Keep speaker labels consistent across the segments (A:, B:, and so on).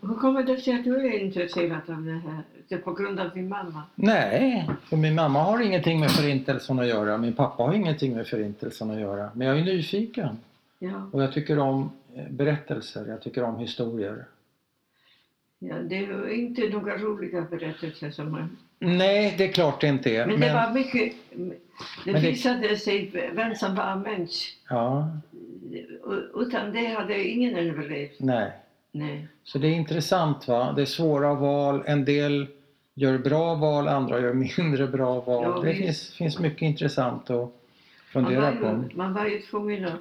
A: Hur kommer det sig att du är intresserad av det här? Det är på grund av din mamma?
B: Nej, för min mamma har ingenting med förintelsen att göra. Min pappa har ingenting med förintelsen att göra. Men jag är nyfiken.
A: Ja,
B: Och jag tycker om eh, berättelser, jag tycker om historier.
A: ja det är ju inte några roliga berättelser som man...
B: Nej, det är klart det inte är.
A: Men det var mycket... Det
B: det-
A: visade sig vem som var människa.
B: Ja,
A: Utan det hade ingen överlevt.
B: nej.
A: Nej.
B: Så det är intressant va? Det är svåra val. En del gör bra val, andra gör mindre bra val.
A: Ja,
B: det
A: visst.
B: finns, finns mycket intressant att
A: Man
B: fundera
A: var,
B: på.
A: ju, man var ju tvungen att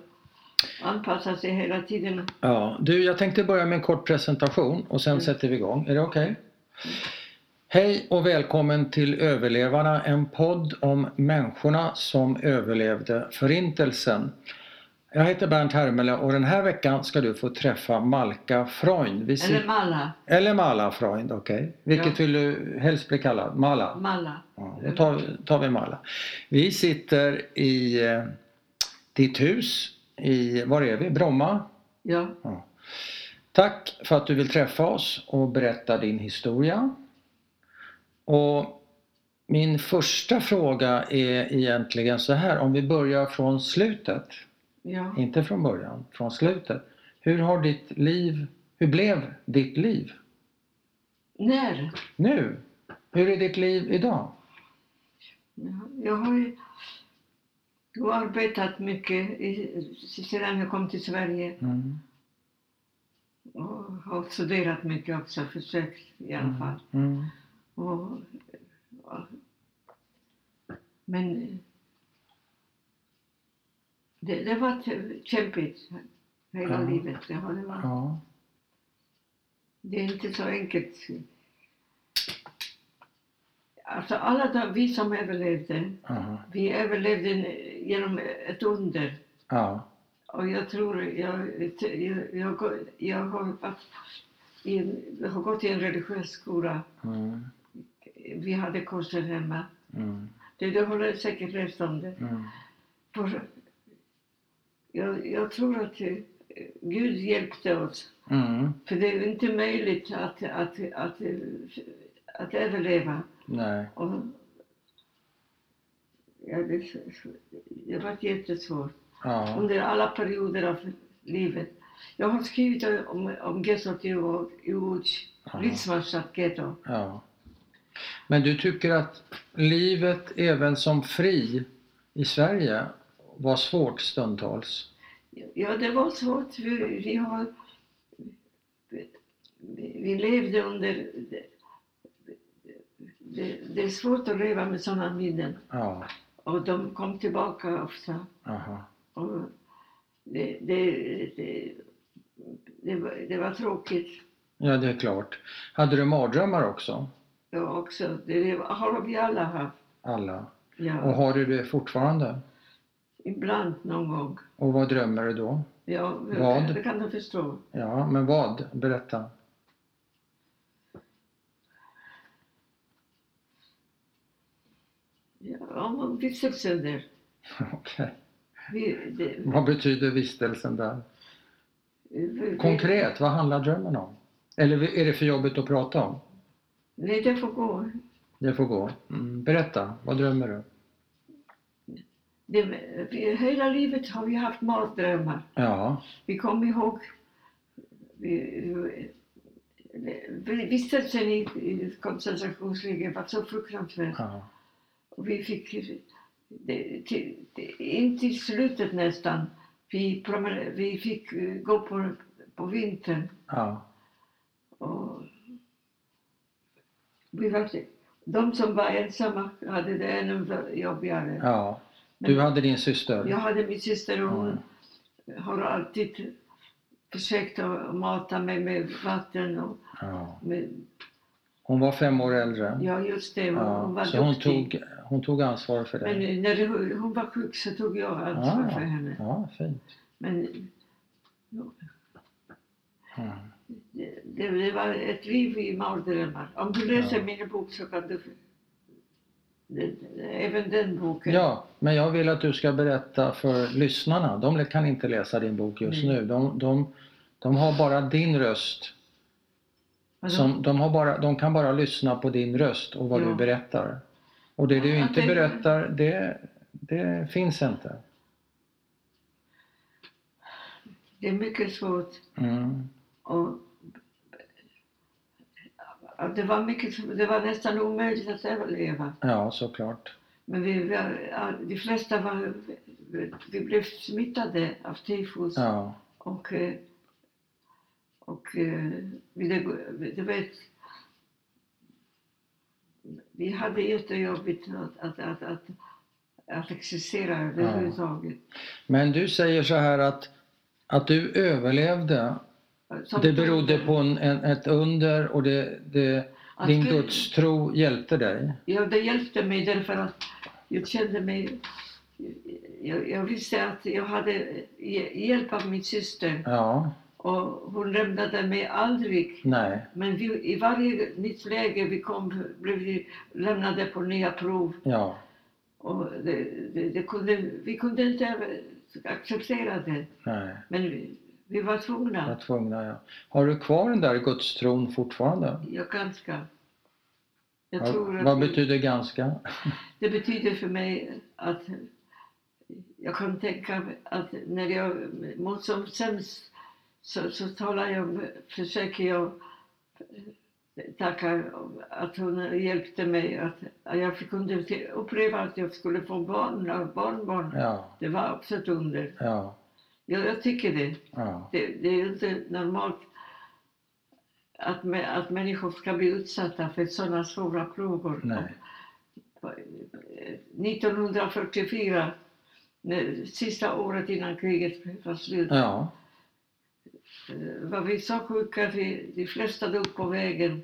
A: anpassa sig hela tiden.
B: Ja, du, jag tänkte börja med en kort presentation och sen
A: Mm.
B: sätter vi igång. Är det okej? Hej och välkommen till Överlevarna, en podd om människorna som överlevde Förintelsen. Jag heter Bernt Hermele och den här veckan ska du få träffa Malka Freund. Vi sit-
A: Eller Malla.
B: Eller Mala Freund, okej. Vilket
A: Ja. Mm.
B: vill du helst bli kallad? Mala?
A: Malla.
B: Ja, då tar, tar vi Mala. Vi sitter i eh, ditt hus i, var är vi? Bromma?
A: Ja.
B: Ja. Tack för att du vill träffa oss och berätta din historia. Och min första fråga är egentligen så här, om vi börjar från slutet,
A: ja.
B: inte från början, från slutet. Hur har ditt liv, hur blev ditt liv?
A: När?
B: Nu? Hur är ditt liv idag?
A: Ja, Jag har ju jag har arbetat mycket i, sedan jag kom till Sverige.
B: Mm.
A: Och har studerat mycket också, försökt i alla fall.
B: Mm.
A: Och, ja. Men det, det var kä- kämpigt hela
B: Ja.
A: livet. Det, har det, varit.
B: Ja.
A: det är inte så enkelt. Alltså alla de, vi som överlevde,
B: Aha.
A: vi överlevde en- genom ett under.
B: Ja.
A: Och jag tror, jag, jag, jag, går- jag, har, varit i en, jag har gått i en religiös skola.
B: Mm.
A: Vi hade kurser hemma.
B: Mm.
A: Det, du håller säkert läst om det.
B: Mm.
A: För jag, jag tror att eh, Gud hjälpte oss.
B: Mm.
A: För det är ju inte möjligt att, att, att, att, eh, att överleva.
B: Nej.
A: Och, ja, det, det var jättesvårt
B: Ja.
A: under alla perioder av livet. Jag har skrivit om, om gettot i Łódź- i Łódź,
B: Ja.
A: Lidsmarsat getto.
B: ja. Men du tycker att livet även som fri i Sverige var svårt stundtals?
A: Ja, det var svårt. Vi, vi, har, vi, vi levde under... Det, det, det är svårt att leva med sådana minnen.
B: Ja.
A: Och de kom tillbaka ofta.
B: Aha.
A: Och det, det, det, det, var, det var tråkigt
B: Ja, det är klart. Hade du mardrömmar också?
A: ja, också. Det, det har vi alla haft.
B: Alla. Och
A: Ja,
B: har du det fortfarande?
A: ibland någon gång.
B: Och vad drömmer du då?
A: Ja,
B: Vad?
A: det kan du förstå.
B: Ja, men vad? Berätta.
A: Ja, om vistelser.
B: Okej.
A: Vi, det,
B: Vad betyder vistelsen där?
A: vi-
B: Konkret, vad handlar drömmen om? Eller är det för jobbigt att prata om?
A: Nej, det får gå.
B: Det får gå. Mm. Berätta, vad drömmer du?
A: Det, vi, hela livet har vi haft mardrömmar.
B: Ja,
A: Vi kom ihåg vi, vi, vistelsen i, i koncentrationsläger var så fruktansvärd.
B: ja,
A: Och vi fick det, till, det, in till slutet nästan. Vi, promener- vi fick eh, gå på, på vintern.
B: ja,
A: Och vi var, de som var ensamma hade det ännu jobbigare.
B: ja.
A: Men-
B: Du hade din syster?
A: Jag hade min syster och hon
B: Mm.
A: har alltid försökt att mata mig med vatten och
B: Ja.
A: med,
B: Hon var fem år äldre?
A: ja just det, hon, hon
B: Ja.
A: var
B: Så hon
A: duktig.
B: tog, hon tog ansvar för dig?
A: Men när hon- hon var sjuk så tog jag ansvar
B: Ah.
A: för henne.
B: Ja, fint.
A: Men
B: Mm.
A: det, det det var ett liv i mardrömmar. Om du läser
B: Ja.
A: min bok så kan du det, det- även den boken.
B: Ja, men jag vill att du ska berätta för lyssnarna. De kan inte läsa din bok just
A: Nej.
B: nu. De, de, de har bara din röst
A: Vadå?
B: Som, de, har bara, de kan bara lyssna på din röst och vad
A: Ja.
B: du berättar. Och det du
A: Ja,
B: inte
A: det-
B: berättar, det, det finns inte.
A: Det är mycket svårt.
B: Mm.
A: Och, ja, det, var mycket, det var nästan omöjligt att överleva.
B: Ja, såklart.
A: Men vi, vi, ja, de flesta var, vi blev smittade av tifus.
B: Ja.
A: Och, eh, och eh, vi- det- du vet, vi hade jättejobbigt att, att, att, att, att existera överhuvudtaget.
B: Men du säger så här att, att du överlevde.
A: Som
B: Det berodde på en, en, ett under och det, det,
A: att
B: din
A: Gud-
B: gudstro hjälpte dig.
A: Ja, det hjälpte mig därför att jag kände mig... Jag, jag visste att jag hade hj- hjälp av min syster
B: Ja,
A: och hon lämnade mig aldrig.
B: nej,
A: Men vi, i varje nytt läge vi kom blev vi lämnade på nya prov.
B: ja.
A: Och det, det, det kunde, vi kunde inte över- acceptera det,
B: Nej,
A: men vi, vi var
B: jag var
A: tvungna.
B: tvungna. Ja. Har du kvar den där gudstron fortfarande?
A: Jag ganska. Jag
B: Ja,
A: tror att
B: Vad betyder ganska?
A: det betyder för mig att jag kan tänka att när jag mår som sämst så, så talar jag, försöker jag tacka att hon hjälpte mig. Att att jag fick- kunde uppleva att jag skulle få barn och barnbarn.
B: Ja,
A: Det var också ett under.
B: ja,
A: Jag, jag tycker det.
B: ja.
A: Det, det är ju inte normalt att, mä- att människor ska bli utsatta för sådana svåra plågor.
B: Nej.
A: Och, eh, 1944, när, sista året innan kriget var slut,
B: Ja,
A: eh, var vi så sjuka att vi, de flesta dog på vägen.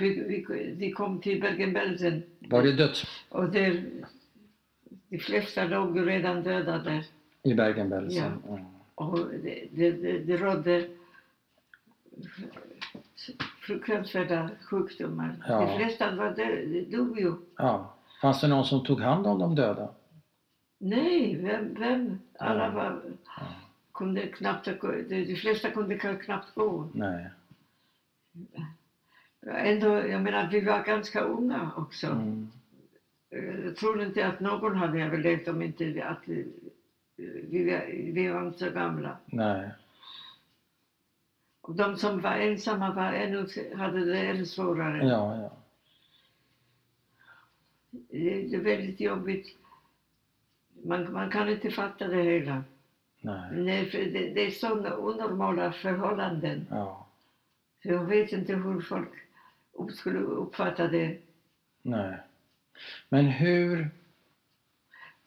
A: Vi, vi, de kom till Bergen-Belsen
B: var det döds
A: och där, de flesta låg ju redan döda där.
B: i Bergen-Belsen? Mm.
A: Och det, det, det, det rådde fruktansvärda sjukdomar.
B: Ja.
A: De flesta var dö- de dog ju.
B: Ja. Fanns det någon som tog hand om de döda?
A: Nej, vem? vem? Alla
B: Ja.
A: var, kunde knappt, gå- de, de flesta kunde k- knappt gå.
B: Nej.
A: Ändå, jag menar, vi var ganska unga också.
B: Mm.
A: Eh, Jag tror inte att någon hade överlevt om inte vi- att eh, vi, var- vi var inte så gamla.
B: Nej.
A: Och de som var ensamma var ännu, hade det ännu svårare.
B: Ja, ja.
A: Det är väldigt jobbigt. Man, man kan inte fatta det hela.
B: Nej.
A: Nej, för det, det är sådana onormala förhållanden.
B: Ja.
A: Så jag vet inte hur folk upp- skulle uppfatta det.
B: Nej. Men hur...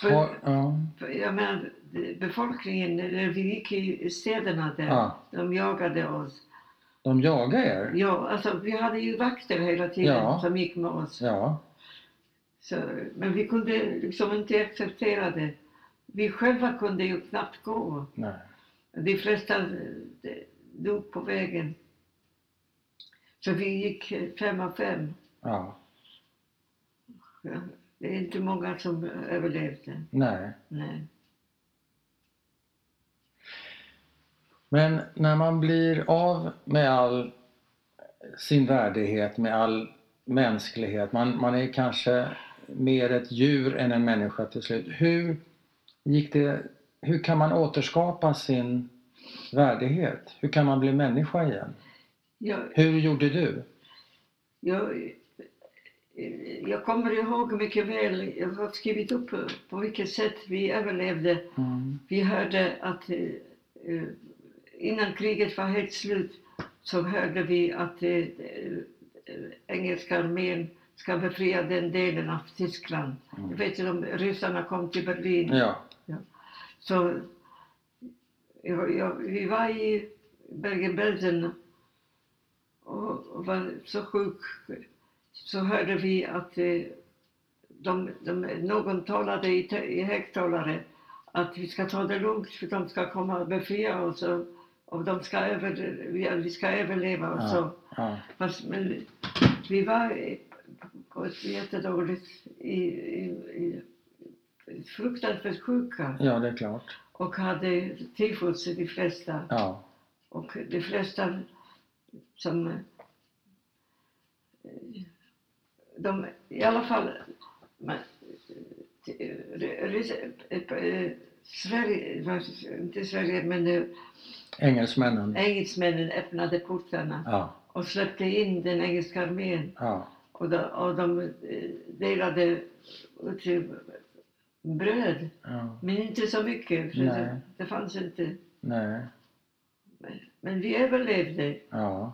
A: För,
B: Har, ja.
A: för, jag menar, det- befolkningen, när vi gick i städerna där,
B: Ja.
A: de jagade oss.
B: De jagar er?
A: Ja, alltså, vi hade ju vakter hela tiden
B: Ja.
A: som gick med oss.
B: Ja.
A: Så, men vi kunde liksom inte acceptera det. Vi själva kunde ju knappt gå.
B: Nej.
A: De flesta eh, de- dog på vägen. Så vi gick eh, fem av fem.
B: Ja.
A: Ja, Det är inte många som överlevde.
B: Nej.
A: Nej.
B: Men när man blir av med all sin värdighet, med all mänsklighet, man, man är kanske mer ett djur än en människa till slut. Hur, gick det, hur kan man återskapa sin värdighet? Hur kan man bli människa igen?
A: Jag,
B: Hur gjorde du?
A: jag, eh, jag kommer ihåg mycket väl, jag har skrivit upp eh, på vilket sätt vi överlevde.
B: Mm.
A: Vi hörde att eh, eh, innan kriget var helt slut så hörde vi att eh, eh, engelska armén ska befria den delen av Tyskland. Jag vet inte om ryssarna kom till Berlin.
B: Ja,
A: Så jag, jag, vi var i Bergen-Belsen och, och var så sjuk. Så hörde vi att eh, de, de, någon talade i, te- i högtalare att vi ska ta det lugnt för de ska komma och befria oss och, och de ska över, vi, vi ska överleva och
B: Ja.
A: så.
B: ja,
A: Fast, men, vi var eh, på ett jättedåligt, i, i, i, fruktansvärt sjuka
B: ja, det är klart.
A: och hade tifus de flesta.
B: Ja,
A: Och de flesta som eh, de, i alla fall, men, eh, Rys- eh, eh, Sverige, vad- inte Sverige, men eh,
B: Engelsmännen.
A: engelsmännen öppnade portarna
B: Ja,
A: och släppte in den engelska armén.
B: ja,
A: Och de, och de eh, delade ut bröd,
B: ja,
A: men inte så mycket, för
B: Nej.
A: det, det fanns inte.
B: nej,
A: Men vi överlevde.
B: ja.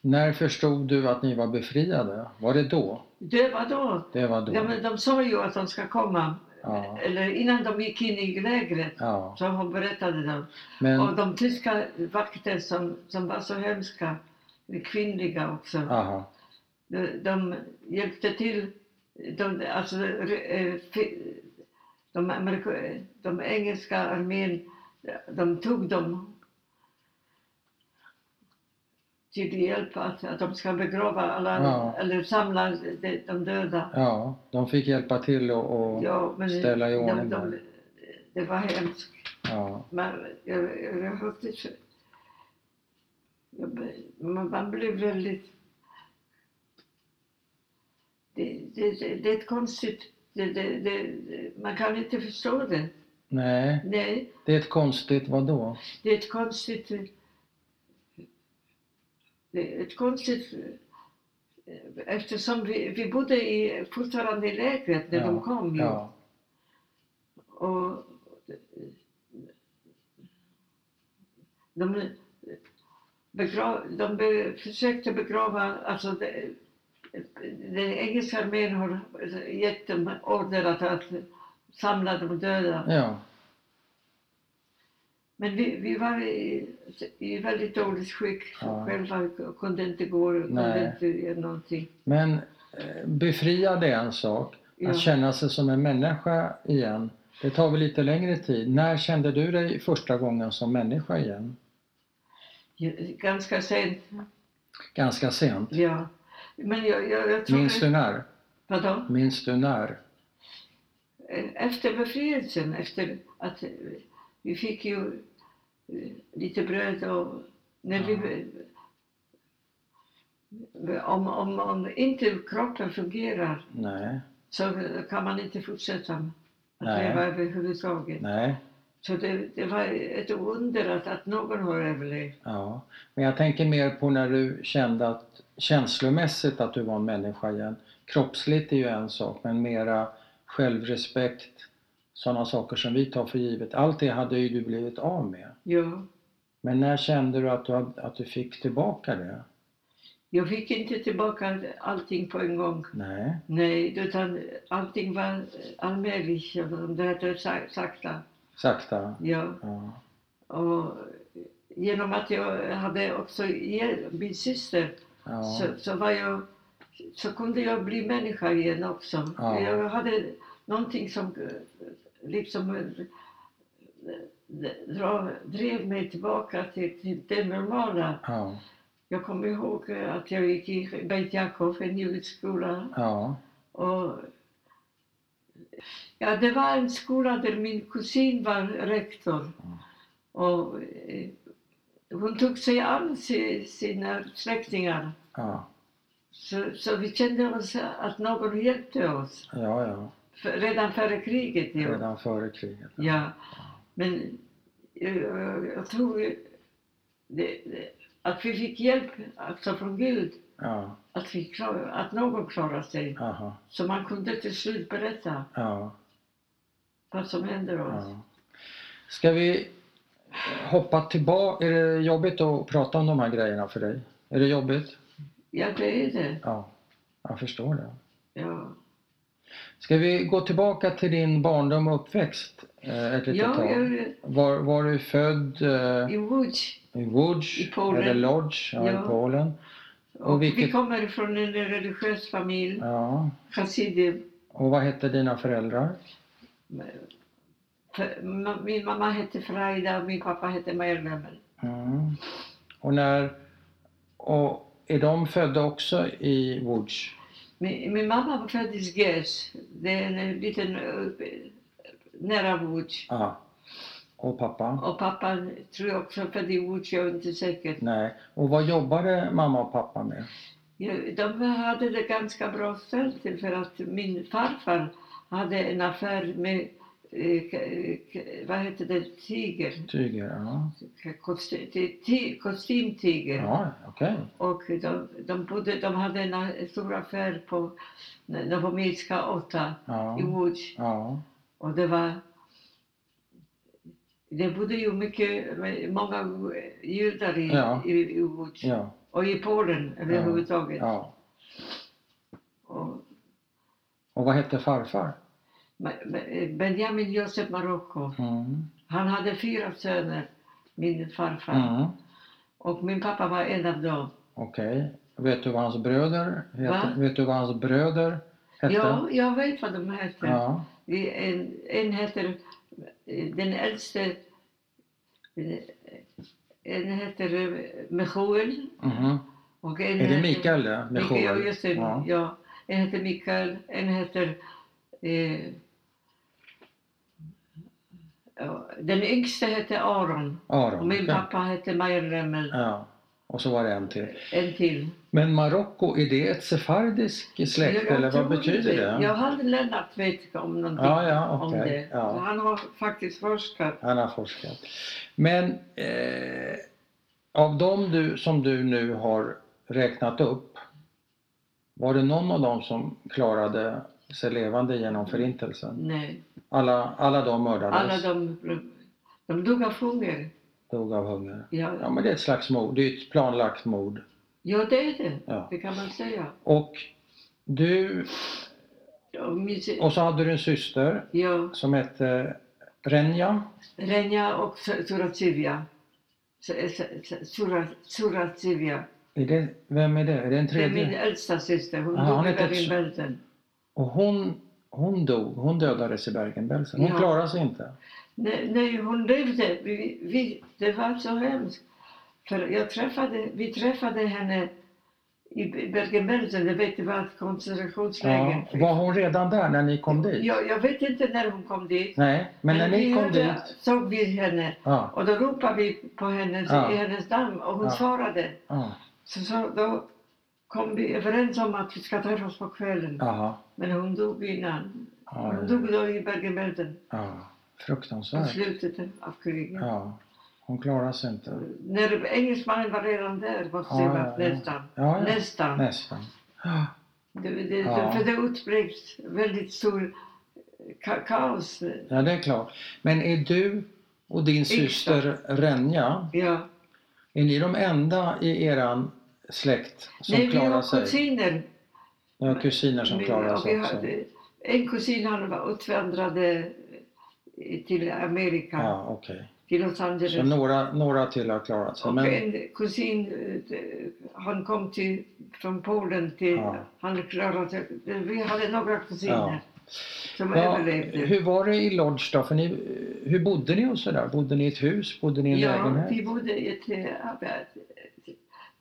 B: När förstod du att ni var befriade? Var det då?
A: Det var då.
B: Det var då?
A: Ja, men de sa ju att de ska komma.
B: Ja,
A: Eller innan de gick in i lägret
B: ja.
A: så hon berättade de. Och
B: Men,
A: de tyska vakter som, som var så hemska, kvinnliga också,
B: aha,
A: de, de hjälpte till. De, alltså, eh, fi- de, amerika- de engelska armén, de tog dem till hjälp att, att de ska begrava alla,
B: Ja.
A: eller samla de, de döda.
B: ja, de fick hjälpa till och, och
A: Ja, men
B: ställa i
A: de,
B: ordning
A: de,
B: där.
A: det var hemskt.
B: ja,
A: Men jag, jag, jag hörde så... Jag, be- man, man blev väldigt... Det, det, det, det är ett konstigt... Det, det, det, det- man kan inte förstå det.
B: nej,
A: Nej,
B: det är ett konstigt vadå?
A: det är ett konstigt... Det är ett konstigt... Eftersom vi, vi bodde i, fortfarande i lägret när de kom. ju.
B: Ja,
A: Och de, begrav, de be, försökte begrava, alltså det- den engelska armén har gett dem order att, att samla de döda.
B: ja,
A: Men vi, vi var i, i väldigt dåligt skick
B: Ja.
A: själva, kunde inte gå, kunde
B: Nej.
A: inte göra någonting.
B: men eh, befriad är en sak.
A: Ja.
B: Att känna sig som en människa igen, det tar väl lite längre tid. När kände du dig första gången som människa igen?
A: Ganska sent,
B: Ganska sent.
A: ja. Men jag, jag, jag tror...
B: Minns du när?
A: Vadå?
B: Minns du när?
A: efter befrielsen, efter att eh, vi fick ju eh, lite bröd och när vi... be- Om, om, om inte kroppen fungerar
B: Nej,
A: så kan man inte fortsätta att
B: Nej.
A: leva överhuvudtaget.
B: nej.
A: Så det, det var ett under att, att någon har överlevt.
B: Ja, men jag tänker mer på när du kände att känslomässigt att du var en människa igen. Kroppsligt är ju en sak, men mera självrespekt, sådana saker som vi tar för givet. Allt det hade ju du blivit av med.
A: Ja.
B: Men när kände du att du, hade- att du fick tillbaka det?
A: Jag fick inte tillbaka allting på en gång.
B: Nej,
A: Nej, utan allting var eh, allmähligt, det hette sak- sakta.
B: sakta.
A: Ja.
B: Ja,
A: Och genom att jag hade också hjälp- min syster
B: ja,
A: så, så, var jag, så kunde jag bli människa igen också.
B: Ja.
A: Jag hade någonting som eh, liksom eh, d- dra, drev mig tillbaka till, till det normala.
B: ja,
A: Jag kommer ihåg eh, att jag gick i Bengt Jakob, en judisk skola.
B: ja,
A: Och, ja, det var en skola där min kusin var rektor. Och, eh, hon tog sig an si- sina släktingar.
B: ja,
A: Så, så vi kände oss att någon hjälpte oss.
B: ja, ja.
A: För, redan före kriget. ju.
B: redan före kriget.
A: Ja. Men eh, jag tror ju det, det, att vi fick hjälp alltså från Gud.
B: Ja,
A: Att, vi klar, att någon klarade sig.
B: aha,
A: Så man kunde till slut berätta
B: ja.
A: vad som hände oss.
B: Ja. Ska vi hoppa tillbaka? Är det jobbigt att prata om de här grejerna för dig? Är det jobbigt?
A: Ja, det är det.
B: Ja, jag förstår det.
A: Ja,
B: Ska vi gå tillbaka till din barndom och uppväxt eh, ett litet
A: ja
B: tag?
A: jag,
B: Var, var du född eh,
A: i Łódź.
B: i Łódź
A: i Polen.
B: eller Lodz ja,
A: Ja.
B: i Polen? Och
A: Och Vi
B: vilket-
A: kommer från en religiös familj,
B: Ja.
A: chassidim.
B: Och vad hette dina föräldrar?
A: För- ma- Min mamma hette Frajda och min pappa hette Meirlemel.
B: Mm. Och när... Och är de födda också i Łódź?
A: Min, min mamma var född i Zgäs, det är en liten ö- nära Łódź.
B: Ja. Och pappa?
A: Och pappa tror jag också född i Łódź, jag är inte säker.
B: Nej. Och vad jobbade mamma och pappa med?
A: Ja, De hade det ganska bra ställt för att min farfar hade en affär med eh, k- k- vad heter det, tiger,
B: Tyger, ja.
A: Kosti- ti- ti- kostymtiger.
B: Ja, okej.
A: Och de, de, bodde, de hade en a- stor affär på Novomilska 8
B: Ja.
A: i Łódź.
B: Ja.
A: Och det var... Det bodde ju mycket, eh, många judar i,
B: Ja.
A: i, i Łódź.
B: Ja.
A: Och i Polen överhuvudtaget.
B: ja.
A: Och
B: Och vad hette farfar?
A: Ma- Ma- Benjamin Josef Marocko.
B: Mm.
A: Han hade fyra söner, min farfar.
B: Mm.
A: Och min pappa var en av dem.
B: Okej. Vet du vad hans bröder
A: Va?
B: hette? Vet du vad hans bröder hette?
A: Ja, jag vet vad de hette.
B: ja.
A: Vi- En, en heter, den äldste, eh, en heter eh, Michael.
B: Mhm.
A: Och en
B: Är det
A: heter-
B: Mikael det? Med
A: Eh, Mikael,
B: showen?
A: just det. Ja.
B: Ja.
A: En heter Mikael, en heter... Eh, ja, den yngste hette Aron.
B: Aron.
A: Och min
B: okej.
A: pappa hette Meyer Remmel.
B: Ja. Och så var det en till.
A: En till.
B: Men Marocko, är det ett sefardiskt släkt
A: Jag
B: eller vad
A: tror
B: betyder
A: inte-
B: det?
A: Jag hade Lennart vet om någonting
B: Ja, ja,
A: om
B: okej.
A: det.
B: Ja.
A: Så Han har faktiskt forskat.
B: Han har forskat. Men eh, av de du, som du nu har räknat upp, var det någon av dem som klarade sig levande genom förintelsen?
A: Nej.
B: Alla, alla de mördades,
A: Alla de, de dog av hunger.
B: dog av hunger. Ja,
A: Ja,
B: men det är ett slags mord, det är ett planlagt mord.
A: ja, det är det.
B: Ja.
A: Det kan man säga.
B: Och du,
A: Och min, sy-
B: och så hade du en syster
A: ja,
B: som hette Renja.
A: Renja och Su- Suracivia. Su- Su- Su- Sura- Suracivia.
B: Är det, vem är det? Är det en
A: Det är min
B: tredje?
A: äldsta syster. Hon
B: Ja, hon
A: dog i
B: heter också-
A: Bergen-Belsen.
B: Och hon, hon dog, hon dödades i Bergen-Belsen. Hon
A: Ja.
B: klarade sig inte.
A: Nej, nej, hon levde. Vi, vi, det var så hemskt. För jag träffade, vi träffade henne i Bergen-Belsen. Det vet du var ett
B: Ja,
A: koncentrationsläger.
B: var hon redan där när ni kom dit?
A: jag, jag vet inte när hon kom dit.
B: Nej, men när ni
A: vi
B: kom
A: hörde-
B: dit?
A: såg vi henne
B: Ja,
A: och då ropade vi på hennes,
B: Ja.
A: i hennes namn och hon
B: Ja.
A: svarade.
B: ja,
A: Så, så då kom vi överens om att vi ska träffas på kvällen.
B: jaha.
A: Men hon dog innan.
B: Ja,
A: Hon dog då i Bergen-Belsen
B: ja.
A: på
B: Fruktansvärt.
A: slutet av kriget.
B: Ja, hon klarade sig inte.
A: När engelsmannen var redan där måste
B: Ja,
A: det
B: ja,
A: varit
B: ja.
A: nästan.
B: Ja, ja.
A: Nästan.
B: nästan. Ja.
A: Det, det,
B: Ja.
A: För det utbröts väldigt stor ka- kaos.
B: Ja, det är klart. Men är du och din
A: Yngsta.
B: syster Renja,
A: Ja.
B: är ni de enda i eran släkt som
A: Nej, vi
B: klarar
A: var
B: sig?
A: kusiner.
B: Ja, kusiner som
A: Vi-
B: klarar
A: och vi
B: sig också.
A: hade- En kusin han var utvandrade eh, till Amerika,
B: Ja, okej.
A: till Los
B: Så
A: Angeles.
B: några, några till har klarat sig.
A: och
B: Men,
A: en kusin, eh, de- han kom till, från Polen till,
B: Ja.
A: han klarade sig. Vi hade några kusiner som
B: ja,
A: överlevde.
B: hur var det i Lodge då? För ni, hur bodde ni och sådär? Bodde ni i ett hus? Bodde ni i en
A: Ja,
B: lägenhet?
A: vi bodde i ett, eh, av-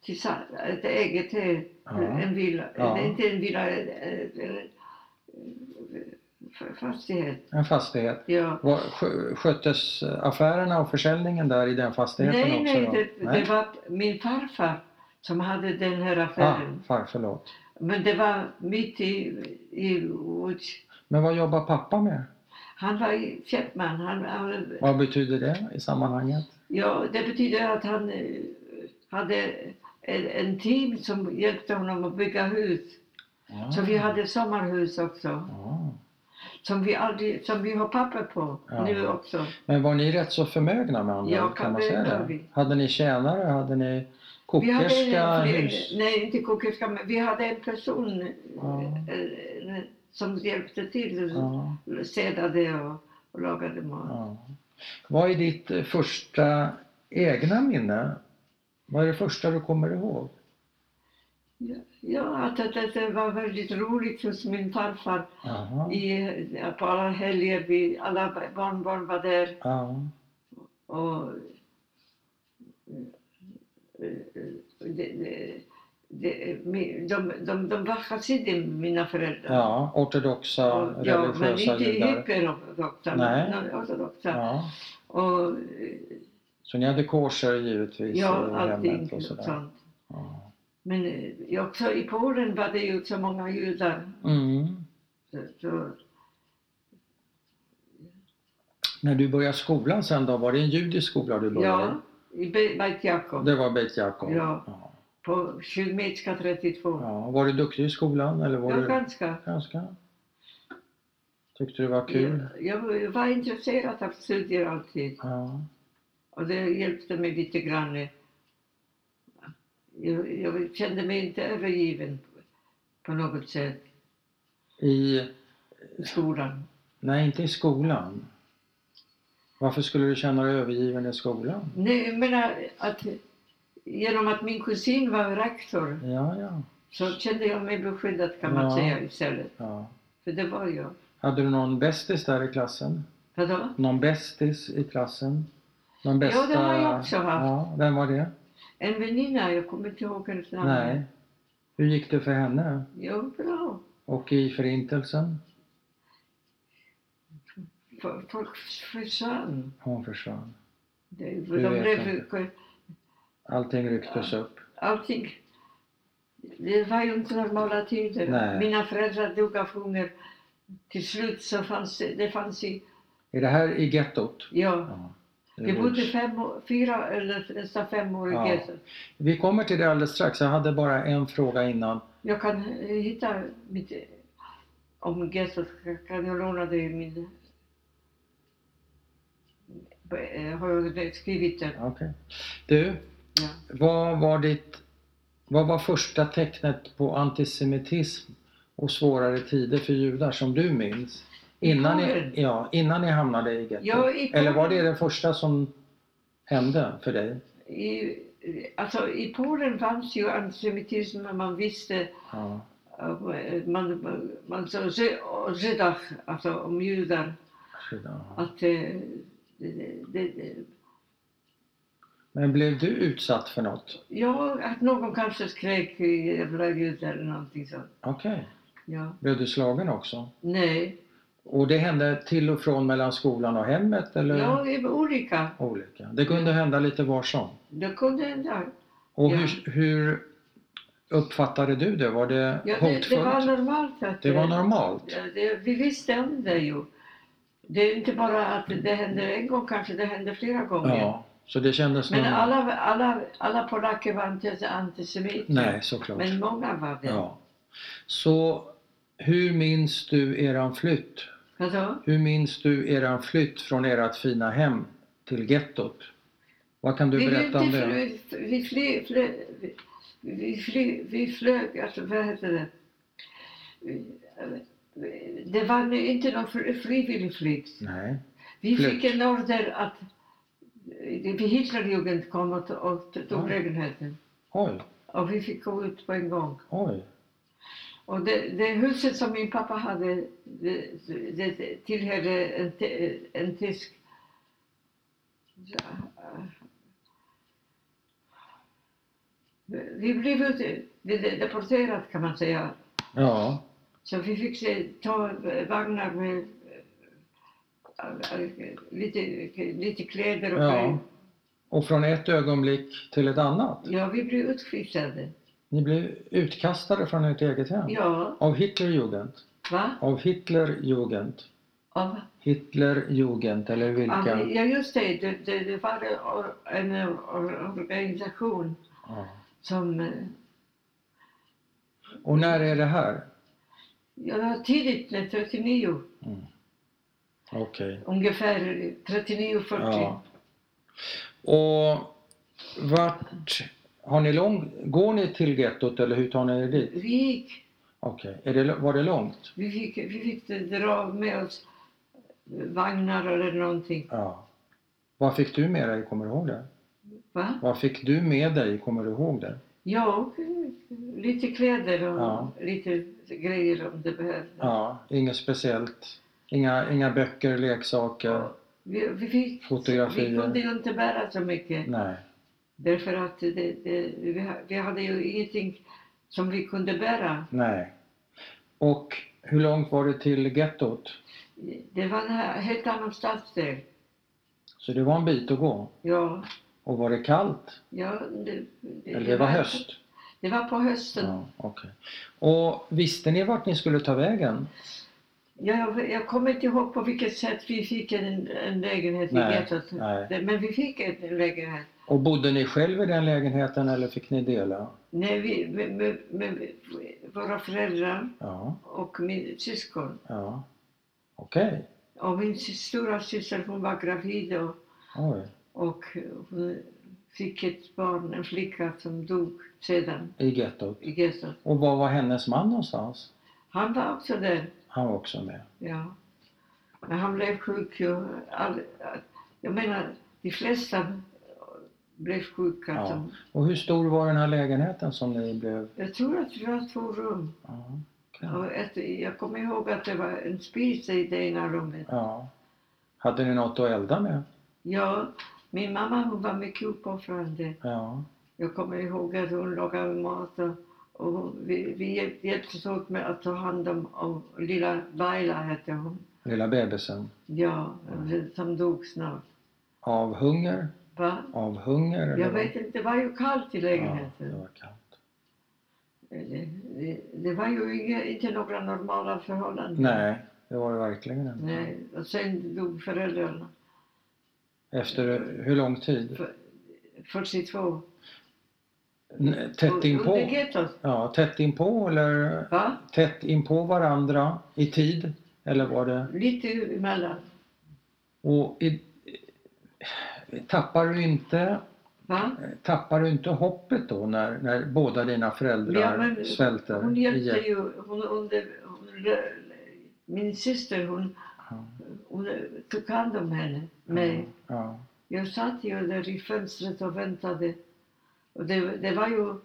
A: tillsamm- ett eget, eh,
B: Ja.
A: en villa,
B: Ja.
A: eller inte en villa, eh, eh, eh, fastighet.
B: En fastighet.
A: Ja.
B: Var, skö- sköttes affärerna och försäljningen där i den fastigheten
A: Nej,
B: också?
A: nej,
B: då?
A: det,
B: nej,
A: det var min farfar som hade den här
B: ah,
A: affären.
B: far, förlåt.
A: Men det var mitt i, i Łódź.
B: Men vad jobbar pappa med?
A: Han var i- köpman. Han, han,
B: Vad betyder det i sammanhanget?
A: ja, det betyder att han eh, hade en, en team som hjälpte honom att bygga hus.
B: Ja.
A: Så vi hade sommarhus också,
B: Ja.
A: som vi, aldrig, som vi har papper på
B: Ja.
A: nu också.
B: Men var ni rätt så förmögna med andra
A: Ja,
B: ord, kan man
A: det
B: säga
A: var
B: det?
A: vi.
B: Hade ni tjänare? Hade ni
A: Vi hade
B: kokerska?
A: en,
B: hus? Ah.
A: nej, inte kokerska, men vi hade en person eh,
B: Ja.
A: eh, som hjälpte till.
B: Ja,
A: städade och, och lagade mat.
B: ja. Vad är ditt eh, första egna minne? Vad är det första du kommer ihåg?
A: Ja, att, att, att det var väldigt roligt hos min farfar.
B: Jaha.
A: I, på alla helger, vi, alla barnbarn var där.
B: Ja.
A: Och, eh, det, det, det, mi- de, de, de var chassidim, mina föräldrar.
B: ja, ortodoxa
A: Och- ja, men
B: religiösa
A: inte
B: judar.
A: hyperortodoxa,
B: Nej.
A: men ortodoxa.
B: Ja.
A: Och, eh,
B: Så ni hade korser givetvis
A: ja,
B: i hemmet
A: allting liksom.
B: och sådär?
A: sånt.
B: Ja.
A: Men eh, också i Polen var det ju så många judar.
B: Mm.
A: Så, så,
B: När du började skolan sen då, var det en judisk skola du började
A: ja, i Be- Beit
B: i?
A: Jakob
B: Det var Beit Jakob?
A: Ja.
B: Ja.
A: på Kylmetska 32.
B: ja. Var du duktig i skolan eller var
A: Ja,
B: du
A: ganska.
B: ganska? Tyckte du det var kul?
A: Jag, jag var intresserad av studier alltid
B: Ja.
A: och det hjälpte mig lite grann. Jag, jag kände mig inte övergiven på något sätt
B: I,
A: i skolan.
B: nej, inte i skolan. Varför skulle du känna dig övergiven i skolan?
A: Nej, jag menar att genom att min kusin var rektor
B: Ja, ja.
A: så kände jag mig beskyddad kan man
B: Ja.
A: säga istället.
B: ja.
A: För det var jag.
B: Hade du någon bästis där i klassen?
A: Vadå?
B: Någon bästis i klassen? Någon bästa...
A: Ja, det har jag också haft.
B: Ja, vem var det?
A: En väninna, jag kommer inte ihåg hennes namn.
B: Nej. Hur gick det för henne?
A: Jo, bra.
B: Och i Förintelsen?
A: F- Folk försvann.
B: Hon försvann.
A: Det- De
B: vet
A: blev,
B: Allting rycktes upp.
A: allting. Det var ju inte normala tider.
B: Nej.
A: Mina föräldrar dog av hunger. Till slut så fanns det, det fanns i,
B: Är det här i gettot?
A: ja.
B: Ja.
A: Vi bodde fem, år- fyra eller nästan fem år i
B: Ja.
A: gettot.
B: Vi kommer till det alldeles strax. Jag hade bara en fråga innan.
A: Jag kan eh, hitta mitt... eh, Om gettot kan jag låna dig min... Eh, Har jag skrivit den?
B: Okej. Du,
A: Ja.
B: vad var ditt... Vad var första tecknet på antisemitism och svårare tider för judar som du minns?
A: I
B: Innan
A: Polen?
B: ni, ja, innan ni hamnade i gettot?
A: Ja, i
B: Eller var det
A: Polen.
B: det första som hände för dig?
A: I, alltså, I Polen fanns ju antisemitism, men man visste...
B: Ja.
A: eh, Man, man sa zy- o Żydach, alltså om judar,
B: Ja.
A: att... eh, Det, det, det,
B: Men blev du utsatt för något?
A: ja, att någon kanske skrek jävla judar eller någonting sånt.
B: Okej.
A: Ja.
B: Blev du slagen också?
A: Nej.
B: Och det hände till och från mellan skolan och hemmet eller?
A: Ja, det var olika.
B: Olika. Det kunde hända lite var som.
A: Det kunde hända.
B: Och
A: Ja.
B: hur, hur uppfattade du det? Var det
A: Ja, det,
B: hotfullt?
A: det var normalt. Att, eh,
B: Det var normalt?
A: Ja, det, vi visste om det ju. Det är inte bara att det händer en gång, kanske det händer flera gånger.
B: Ja, så det kändes
A: Men
B: normalt?
A: alla, alla, alla polacker var inte antisemiter.
B: Nej, såklart.
A: Men många var det.
B: Ja. Så hur minns du eran flytt?
A: Vadå?
B: Hur minns du eran flytt från ert fina hem till gettot? Vad kan du
A: vi,
B: berätta om
A: vi,
B: det?
A: vi, vi, fly, fly, vi, vi, fly, vi flög, alltså vad heter det? Det var inte någon fri- frivillig flykt.
B: Nej.
A: Vi
B: Flytt.
A: fick en order att eh, Hitlerjugend kom och, och tog
B: Oj.
A: lägenheten.
B: Oj,
A: Och vi fick gå ut på en gång.
B: oj.
A: Och det, det huset som min pappa hade, det, det, det tillhörde en, te- en tysk... Ja, eh, Vi blev ut, vi deporterade kan man säga.
B: Ja,
A: Så vi fick se, ta eh, vagnar med eh, eh, lite, lite kläder och
B: ja.
A: grejer.
B: Och från ett ögonblick till ett annat.
A: Ja, vi blev utskickade.
B: Ni blev utkastade från ert eget hem.
A: Ja,
B: Av Hitlerjugend.
A: va?
B: Av Hitlerjugend.
A: Av,
B: Hitlerjugend eller
A: av,
B: vilka?
A: ja, just det. Det, det, det var en or- en eh, or- organisation
B: Ja.
A: som... eh,
B: Och när är det här?
A: Ja, det var tidigt, när 39
B: Okej.
A: ungefär. 39, 40.
B: Ja. Och vart har ni lång... Går ni till gettot eller hur tar ni er dit?
A: Vi gick.
B: Okej. Är det, var det långt?
A: Vi fick, vi fick dra med oss vagnar eller någonting.
B: Ja. Vad fick du med dig? Kommer du ihåg det?
A: Va?
B: Vad fick du med dig? Kommer du ihåg det?
A: Ja, och eh, lite kläder och
B: Ja.
A: lite grejer om det behövdes.
B: Ja. Inget speciellt? Inga, inga böcker, leksaker?
A: Vi, vi, fick,
B: Fotografier.
A: vi kunde ju inte bära så mycket.
B: Nej.
A: Därför att det, det, vi, ha- vi hade ju ingenting som vi kunde bära.
B: Nej. Och hur långt var det till gettot?
A: Det var en he- helt annan stadsdel.
B: Så det var en bit att gå.
A: Ja,
B: Och var det kallt?
A: ja, det, typ. det,
B: Eller det var höst?
A: Det var på hösten. Ja.
B: Ja, okej. Och visste ni vart ni skulle ta vägen?
A: jag, jag kommer inte ihåg på vilket sätt vi fick en, en lägenhet. Vi
B: Nej,
A: vet att,
B: nej.
A: Men vi fick en en lägenhet.
B: Och bodde ni själv i den lägenheten eller fick ni dela?
A: Nej, vi, med, med, med våra föräldrar
B: Ja,
A: och min syskon.
B: ja. Okej.
A: Och min sy- stora syster hon var gravid och,
B: Oj.
A: och hon fick ett barn, en flicka som dog sedan
B: I gettot.
A: i Gästorp.
B: Och var var hennes man någonstans?
A: Han var också där.
B: Han var också med.
A: Ja. Men han blev sjuk ju. All, jag menar, de flesta blev sjuka.
B: Ja.
A: som-
B: Och hur stor var den här lägenheten som ni blev?
A: Jag tror att vi var två rum.
B: Ja, okej.
A: Och ett, jag kommer ihåg att det var en spis i det ena rummet.
B: ja. Hade ni något att elda med?
A: Ja, min mamma hon var mycket uppoffrande.
B: Ja.
A: Jag kommer ihåg att hon lagade mat och, och vi, vi hjälp- hjälptes åt med att ta hand om, om lilla Laila hette hon.
B: Lilla bebisen.
A: Ja, som dog snart.
B: Av hunger?
A: Va?
B: Av hunger? eller
A: Jag
B: vad?
A: vet inte, det var ju kallt i
B: Ja,
A: lägenheten.
B: det var kallt.
A: Det, det- det var ju inga, inte några normala förhållanden.
B: Nej, det var det verkligen inte.
A: Nej, Och sen dog föräldrarna,
B: Efter hur lång tid?
A: 42.
B: N- Tätt
A: Och, och
B: inpå?
A: det gettot,
B: Ja, tätt inpå eller
A: va?
B: tätt inpå varandra i tid? Eller var det...
A: Lite emellan,
B: Och i... Tappar du inte
A: va?
B: Tappar du inte hoppet då när, när båda dina föräldrar
A: Ja, men
B: svälter?
A: Hon hjälpte
B: ihjäl?
A: ju, hon, hon, hon, min syster hon,
B: Ja.
A: hon tog hand om henne, mig.
B: Ja,
A: Jag satt ju där i fönstret och väntade. Och det, det var ju...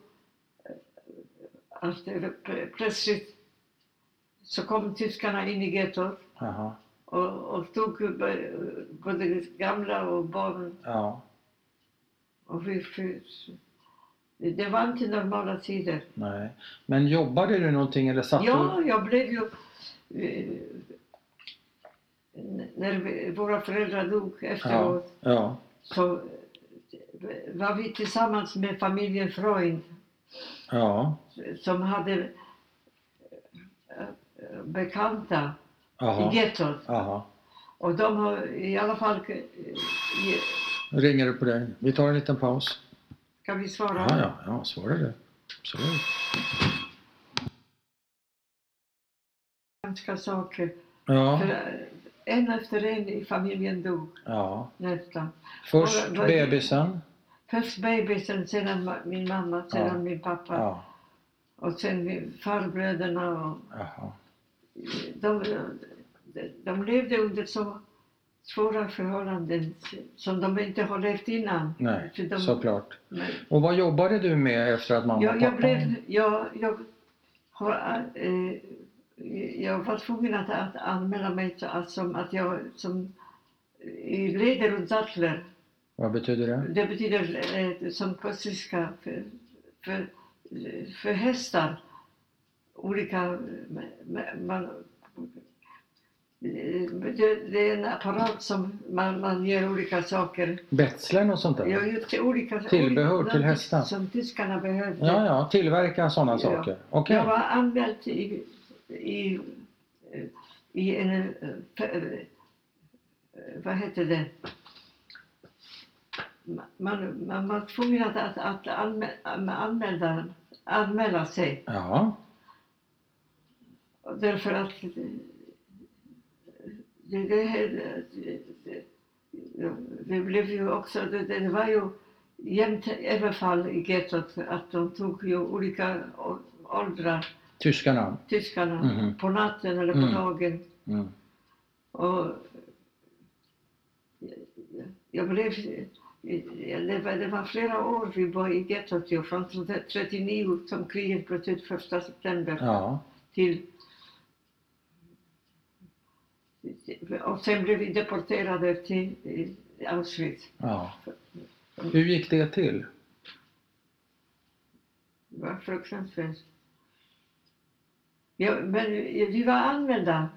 A: Att det, plötsligt så kom tyskarna in i gettot
B: aha,
A: och, och tog ju b- både gamla och barn.
B: ja,
A: Och vi, fick- det var inte normala tider.
B: nej. Men jobbade du någonting eller satt
A: Ja, jag blev ju... eh, n- när vi, våra föräldrar dog efteråt
B: du? Ja,
A: så eh, var vi tillsammans med familjen Freund
B: ja,
A: som hade eh, eh, bekanta i
B: aha,
A: gettot.
B: aha.
A: Och de har i alla fall... eh, ge-
B: Nu ringer det på dig. Vi tar en liten paus.
A: Kan vi svara?
B: Ja, ja, ja, svarar du. Absolut.
A: Hemska saker.
B: Ja,
A: För, eh, en efter en i familjen dog
B: ja.
A: nästan.
B: Först
A: Vad- vad-
B: bebisen.
A: Först bebisen, sedan ma- min mamma, sedan
B: Ja.
A: min pappa
B: Ja,
A: och sen min- farbröderna. Och
B: aha.
A: de, de, de levde under så svåra förhållanden som de inte har levt innan. För
B: Nej,
A: de-
B: såklart.
A: Nej.
B: Och vad jobbade du med efter att mamma och
A: Jag,
B: pappa...
A: jag blev... Jag, jag, har, eh, jag var tvungen att, att anmäla mig så att, som att jag som i leder och dattler.
B: Vad betyder det?
A: Det betyder eh, som klassiska för, för, för hästar. Olika... eh, ma- Man, eh, det, det är en apparat som man, man ger olika saker.
B: Betslen och sånt där?
A: Jag har gjort olika...
B: Tillbehör till hästar.
A: Som tyskarna behövde.
B: Ja, ja, tillverka sådana
A: Ja.
B: saker. Okej.
A: Jag var anmäld i, i, i en... eh, fe- eh, Vad hette det? Ma- Man, man var tvungen att, att, att anmä, anmäla, anmäla sig
B: Ja,
A: därför att eh, det, det, här- det, det, det blev ju också, det, det var ju jämt överfall i gettot att de tog ju olika å- åldrar
B: tyskarna.
A: tyskarna
B: Mhm.
A: på natten eller på
B: Mm.
A: dagen.
B: Mm.
A: Och jag blev, det var, det var flera år vi var i gettot, ju, från 39 som kriget bröt ut 1 september
B: Ja,
A: till... Och sen blev vi deporterade till eh, Auschwitz.
B: ja. Hur gick det till?
A: Det var fruktansvärt. Ja, men vi var anmälda.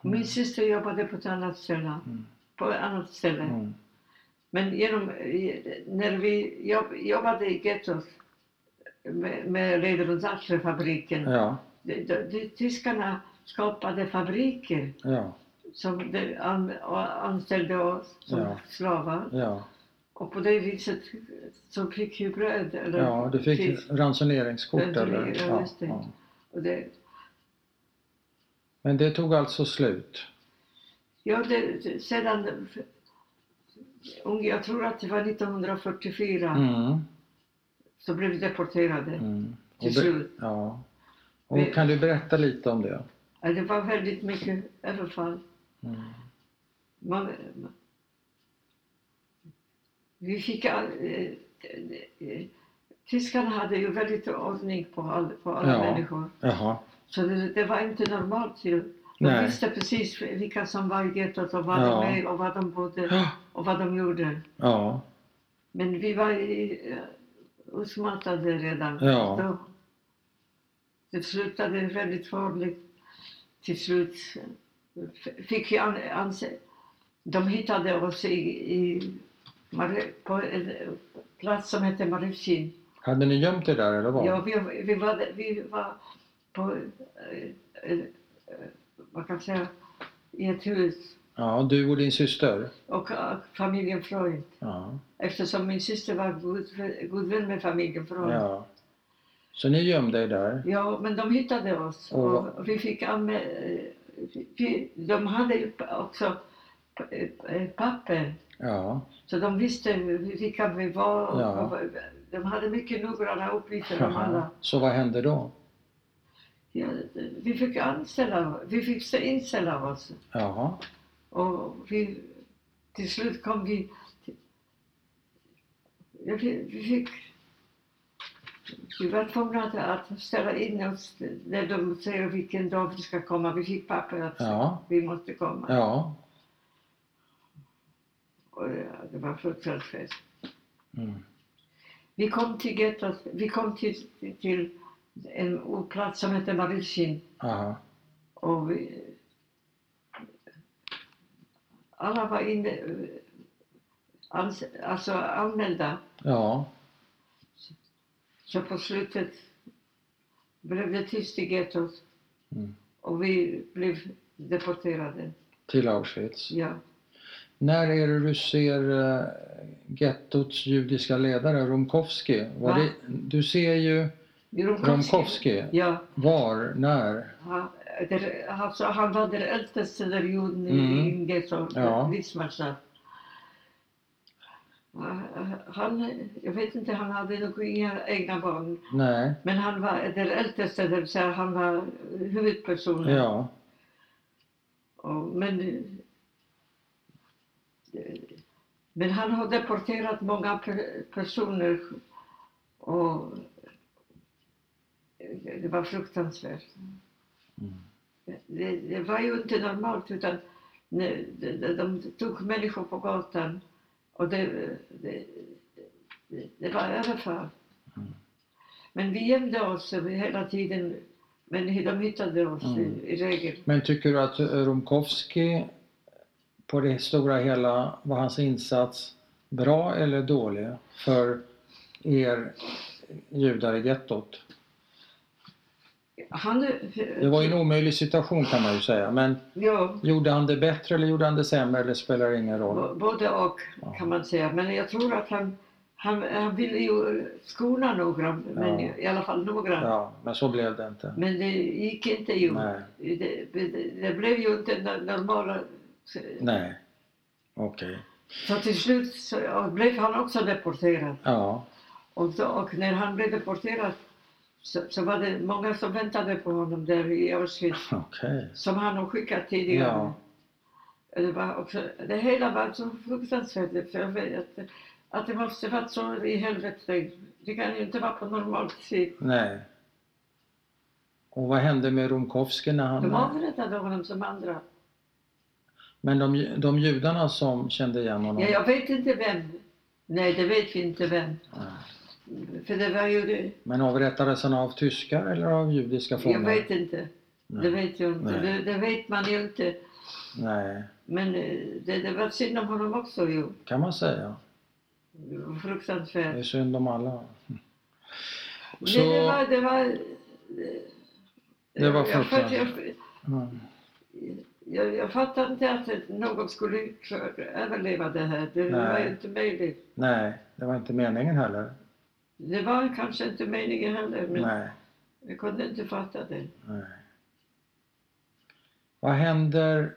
A: Min syster jobbade på ett annat ställe.
B: Mm.
A: På ett annat ställe.
B: Mm.
A: Men genom, eh, när vi jobb, jobbade i gettot med, med Ledrumsatlerfabriken.
B: ja,
A: De, de, de, tyskarna skapade fabriker
B: ja,
A: som de an, och anställde oss som
B: Ja.
A: slavar.
B: ja.
A: Och på det viset så fick vi bröd. Eller
B: ja du fick
A: fisk.
B: ransoneringskort
A: Ransonering,
B: eller?
A: ja,
B: Ja,
A: just det.
B: ja.
A: Och det,
B: Men det tog alltså slut?
A: ja, det, det- sedan... unge- Jag tror att det var 1944
B: Mm,
A: så blev vi deporterade
B: mm. Och,
A: till
B: be-
A: slut.
B: ja. och kan du berätta lite om det?
A: Ja, Det var väldigt mycket överfall.
B: Mm.
A: Man, man, vi fick... all- eh, eh, Tyskarna hade ju väldigt ordning på, all, på alla
B: Ja.
A: människor.
B: Jaha,
A: Så det, det var inte normalt. Ju. De
B: Nej.
A: visste precis vilka som var i gettot och var
B: Ja.
A: de är och var de bodde
B: Ja,
A: och vad de gjorde.
B: ja,
A: Men vi var i, eh, utmattade redan.
B: Ja.
A: Då, det slutade väldigt farligt. Till slut f- fick vi an, anse, De hittade oss i, i, Mare- på en eh, plats som hette Marivkin.
B: hade ni gömt er där eller vad?
A: Ja, vi, vi, var, vi var på, eh, eh, eh, vad kan jag säga, i ett hus.
B: Ja, du och din syster?
A: Och eh, familjen Freud.
B: Ja.
A: Eftersom min syster var god, god vän med familjen Freud. Ja.
B: ja. Så ni gömde er där?
A: men de hittade oss.
B: Och vad-
A: Och vi fick anmä- eh, vi, De hade ju också eh, eh, papper.
B: Ja,
A: Så de visste vilka vi var. Och,
B: Ja.
A: och, de hade mycket noggranna uppgifter om alla.
B: Jaha. Så vad hände då?
A: Ja, vi fick anställa, vi fick inställa oss.
B: Jaha,
A: Och vi, till slut kom vi... till- Ja, vi, vi fick... Vi var tvungna att, att ställa in oss när de säger vilken dag vi ska komma. Vi fick papper att
B: ja,
A: vi måste komma.
B: ja.
A: Och, ja, det var fruktansvärt.
B: Mm.
A: Vi kom till gettot, vi kom till, till en plats som hette Marilsin.
B: Aha.
A: Och vi, alla var inne, ans, alltså anmälda.
B: Ja,
A: Så på slutet blev det tyst i gettot
B: Mm.
A: och vi blev deporterade.
B: till Auschwitz.
A: Ja.
B: När är det du ser eh, gettots judiska ledare Romkowski? Var
A: Va?
B: det, du ser ju Romkowski.
A: Ja,
B: Var? När?
A: han, der, alltså, han var den äldste där juden i
B: Mm.
A: gettot,
B: Ja.
A: Wismarsa. Han, jag vet inte, han hade nog inga egna barn.
B: Nej.
A: Men han var den äldste, det vill säga han var huvudpersonen.
B: Ja.
A: Och, men, eh, men han har deporterat många per, personer och eh, det var fruktansvärt.
B: Mm.
A: Det, det var ju inte normalt utan ne- de, de, de tog människor på gatan och det, det, det, det var överfall.
B: Mm.
A: Men vi gömde oss hela tiden, men de hittade oss
B: Mm.
A: i, i regel.
B: Men tycker du att Romkowski på det stora hela var hans insats bra eller dålig för er judar i gettot?
A: Han,
B: Det var ju en omöjlig situation kan man ju säga men
A: Ja,
B: Gjorde han det bättre eller gjorde han det sämre? Det spelar ingen roll.
A: b- både och
B: Ja.
A: kan man säga. Men jag tror att han, han, han ville ju skona några, men
B: Ja.
A: i alla fall några.
B: Ja, men så blev det inte.
A: Men det gick inte ju.
B: Nej.
A: Det, det, det blev ju inte no- normala... Så,
B: Nej. Okej.
A: så till slut så ja, blev han också deporterad.
B: Ja.
A: Och, så, och när han blev deporterad så, så var det många som väntade på honom där i Auschwitz.
B: Okej.
A: som han har skickat tidigare. Det, var också, det hela var så fruktansvärt. För jag vet att, att det måste varit så i helvete. Det kan ju inte vara på normalt sätt.
B: Nej. Och vad hände med Romkowski när
A: De
B: han...
A: avrättade honom som andra.
B: Men de, de judarna som kände igen honom?
A: Ja, jag vet inte vem. Nej, det vet vi inte vem.
B: Nej.
A: För det var ju det.
B: Men avrättades han av tyskar eller av judiska fångar?
A: Jag vet inte. Det
B: Nej.
A: vet jag inte.
B: Nej.
A: Det, det vet man ju inte.
B: Nej,
A: Men eh, det, det var synd om honom också ju.
B: kan man säga.
A: Det var
B: Det är
A: Fruktansvärt.
B: synd om alla.
A: Så... Det, det
B: Så,
A: var... Det var,
B: Det var
A: jag, fatt-
B: fruktansvärt.
A: jag,
B: mm,
A: jag, jag fattade inte att någon skulle klara- överleva det här. Det var
B: Nej.
A: ju inte möjligt.
B: nej, det var inte meningen heller.
A: Det var kanske inte meningen heller, men
B: Nej,
A: jag kunde inte fatta det.
B: nej. Vad händer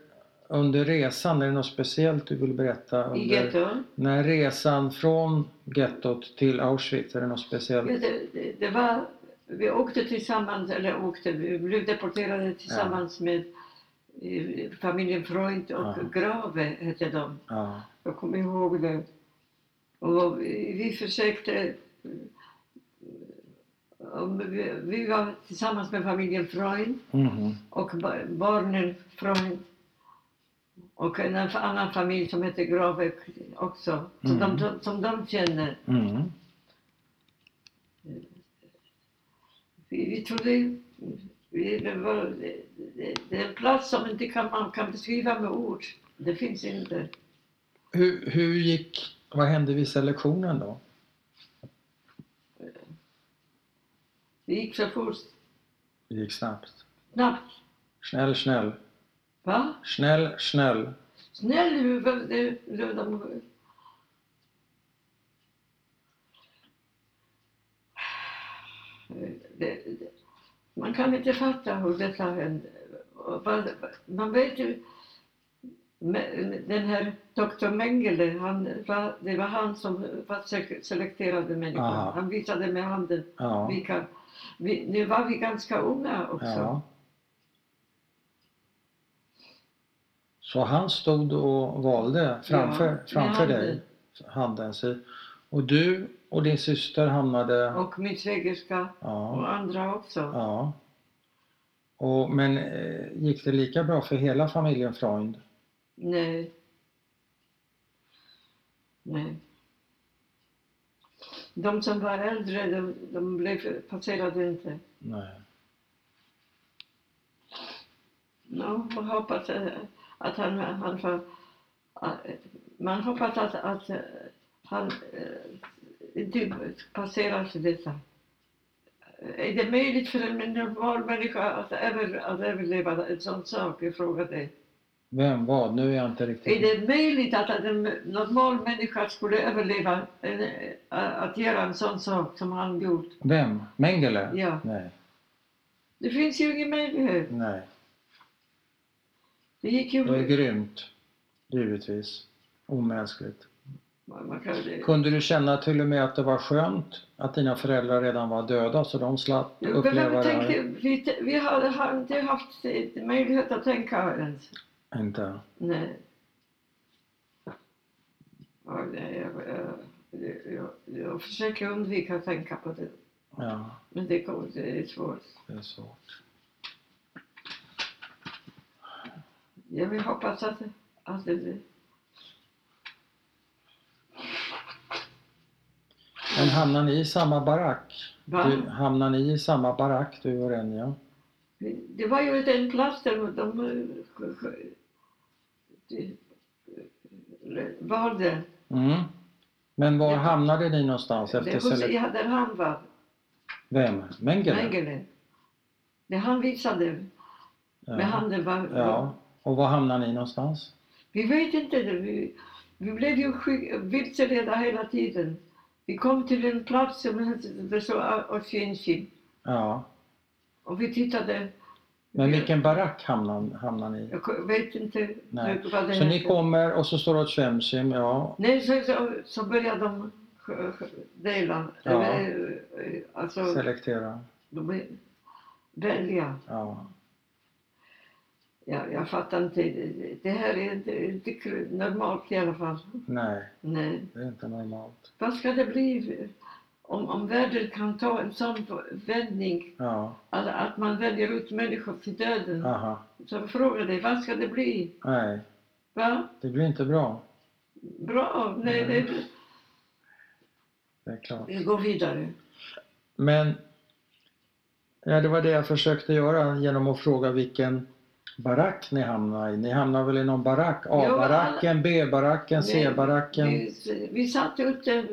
B: under resan? Är det något speciellt du vill berätta? Under,
A: I getton.
B: När resan från gettot till Auschwitz, är det något
A: Ja,
B: speciellt?
A: det, det- det var, vi åkte tillsammans, eller åkte, vi blev deporterade tillsammans med eh, familjen Freud och
B: Ja.
A: Grave hette de.
B: Ja,
A: Jag kommer ihåg det. Och vi, vi försökte... eh, om vi, vi var tillsammans med familjen Freud
B: mhm,
A: och ba- barnen Freud och en annan familj som hette Grave också, som,
B: Mm.
A: de, som de känner.
B: mm,
A: Vi, vi trodde vi, det var det, det, det är en plats som inte kan, man kan beskriva med ord. Det finns inte.
B: Hur, hur gick, vad hände vid selektionen då?
A: Det gick så fort,
B: Det gick snabbt.
A: snabbt.
B: Snäll, snäll.
A: Va?
B: Snäll, snäll.
A: Snäll du, vad- det- det- de... Det, det, man kan inte fatta hur detta hände. Och vad- Man vet ju... men- Den här doktor Mengele, han, var- det var han som var sek- selekterade människor.
B: Aha.
A: Han visade med handen
B: Ja.
A: vilka... Vi, nu var vi ganska unga också.
B: Ja. Så han stod och valde framför,
A: Ja, med
B: framför
A: handen.
B: dig, handen. Så, och du och din syster hamnade...
A: Och min svägerska
B: Ja,
A: och andra också.
B: ja. Och, men eh, gick det lika bra för hela familjen Freund?
A: Nej. Nej. De som var äldre, de, de blev, passerade inte.
B: Nej.
A: No, man hoppas eh, att han, han var, eh, man hoppas att, att eh, han eh, inte passerar detta. Är det möjligt för en normal människa att, över, att överleva en sån sak? Jag frågar dig.
B: Vem vad? Nu är jag inte riktigt...
A: Är det möjligt att en normal människa skulle överleva en, eh, att göra en sån sak som han gjort?
B: Vem? Mengele?
A: Ja.
B: Nej.
A: Det finns ju ingen möjlighet.
B: Nej.
A: Det gick ju...
B: Det är grymt. Givetvis. Omänskligt.
A: Man man kan,
B: Kunde du känna till och med att det var skönt att dina föräldrar redan var döda så de slapp
A: Jo, men
B: uppleva
A: vi,
B: det här?
A: tänkte, vi, vi hade har inte haft möjlighet att tänka ens.
B: Inte?
A: Nej. Ja, nej, jag, jag, jag, jag försöker undvika att tänka på det.
B: Ja,
A: Men det, går- det är svårt.
B: det är svårt.
A: Jag vill hoppas att, att det...
B: Men hamnar ni i samma barack?
A: Va?
B: Du, hamnar ni i samma barack, du och Renja?
A: Det var ju inte en plats där de, de, eh, de, eh, de valde.
B: Mm. Men var
A: Ja.
B: hamnade ni någonstans
A: Det
B: efter
A: hos,
B: selektionen?
A: ja, där han var,
B: Vem? Mengele?
A: Mengele. Det han visade med
B: Ja.
A: handen var...
B: ja. Och var hamnar ni någonstans?
A: Vi vet inte det. Vi, vi blev ju sky- vilseledda hela tiden. Vi kom till en plats som hette det stod Oshinshin.
B: Ja.
A: Och vi tittade.
B: Men
A: Vi-
B: vilken barack hamnar, hamnar ni i?
A: Jag vet inte
B: Nej.
A: vad det
B: Så ni
A: hette.
B: kommer och så står det åt Shemshim, ja.
A: Nej, så, så, så började de dela,
B: Ja.
A: eller eh, alltså
B: Selektera.
A: de välja.
B: Ja.
A: Jag, jag fattar inte, det här är inte, inte kul- normalt i alla fall.
B: Nej.
A: Nej.
B: Det är inte normalt.
A: Vad ska det bli om, om världen kan ta en sån vändning,
B: Ja,
A: att, att man väljer ut människor till döden?
B: aha.
A: Så jag frågar dig, vad ska det bli?
B: Nej,
A: Va?
B: det blir inte bra.
A: Bra? Nej, det,
B: Det är klart.
A: vi går vidare.
B: Men ja, det var det jag försökte göra genom att fråga vilken barack ni hamnade i. Ni hamnade väl i någon barack?
A: alla-
B: A-baracken, B-baracken,
A: Nej,
B: C-baracken?
A: Vi, vi satt ute eh,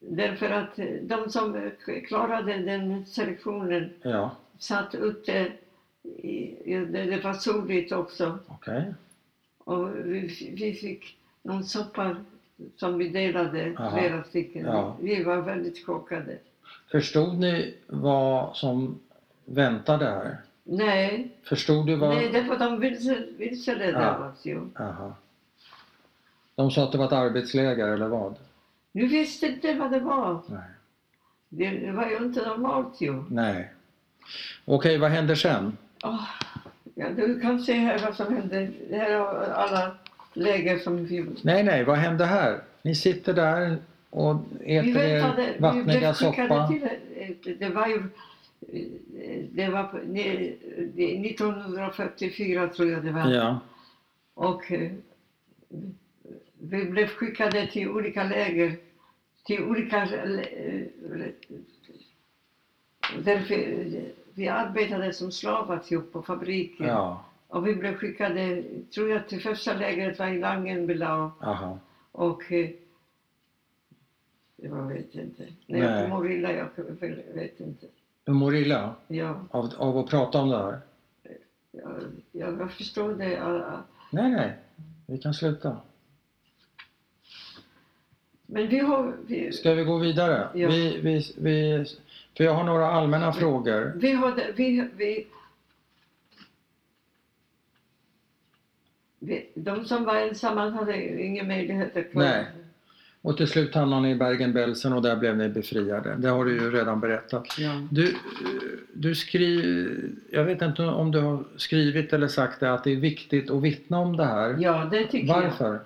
A: Därför att eh, de som klarade den selektionen
B: Ja,
A: satt upp det, i- i- det det var soligt också.
B: okej.
A: Och vi, f- vi fick någon soppa som vi delade,
B: Aha.
A: flera stycken.
B: Ja.
A: Vi var väldigt chockade.
B: Förstod ni vad som väntade här?
A: Nej,
B: Förstod du vad...
A: nej det var de vilse- vilseledde
B: Ja.
A: oss ju.
B: Aha. De sa att det var ett arbetsläger eller vad?
A: Vi visste inte vad det var.
B: Nej.
A: Det det var ju inte normalt ju.
B: Nej. Okej, vad händer sen?
A: Åh, ja, du kan se här vad som hände. Det här var alla läger som vi...
B: Nej, nej, vad hände här? Ni sitter där och
A: Vi
B: äter
A: väntade,
B: er
A: vi blev
B: vattniga
A: skickade
B: soppa.
A: till... eh, Det var ju... eh, Det var på- ne- det- 1944 tror jag det var.
B: Ja,
A: Och eh, vi blev skickade till olika läger. Till olika... lä- eh, Där vi, vi arbetade som slavar typ, på fabriker.
B: ja,
A: Och vi blev skickade, tror jag, till första lägret var i Langenbelau
B: aha.
A: och... eh, Jag vet inte. Nej,
B: Nej.
A: jag mår illa, jag vet inte.
B: Du mår illa
A: Jag,
B: av, av att prata om det här?
A: jag, jag, jag förstår det. ja.
B: Nej, nej, vi kan sluta.
A: Men vi har... Vi,
B: Ska vi gå vidare?
A: Ja.
B: Vi, vi, vi, för jag har några allmänna frågor.
A: vi har... Vi, vi, vi, de som var ensamma hade inga möjligheter kvar.
B: Nej. Och till slut hamnade ni i Bergen-Belsen och där blev ni befriade. Det har du ju redan berättat.
A: Ja.
B: Du, du skriver, jag vet inte om du har skrivit eller sagt det, att det är viktigt att vittna om det här.
A: ja, det tycker jag.
B: Varför?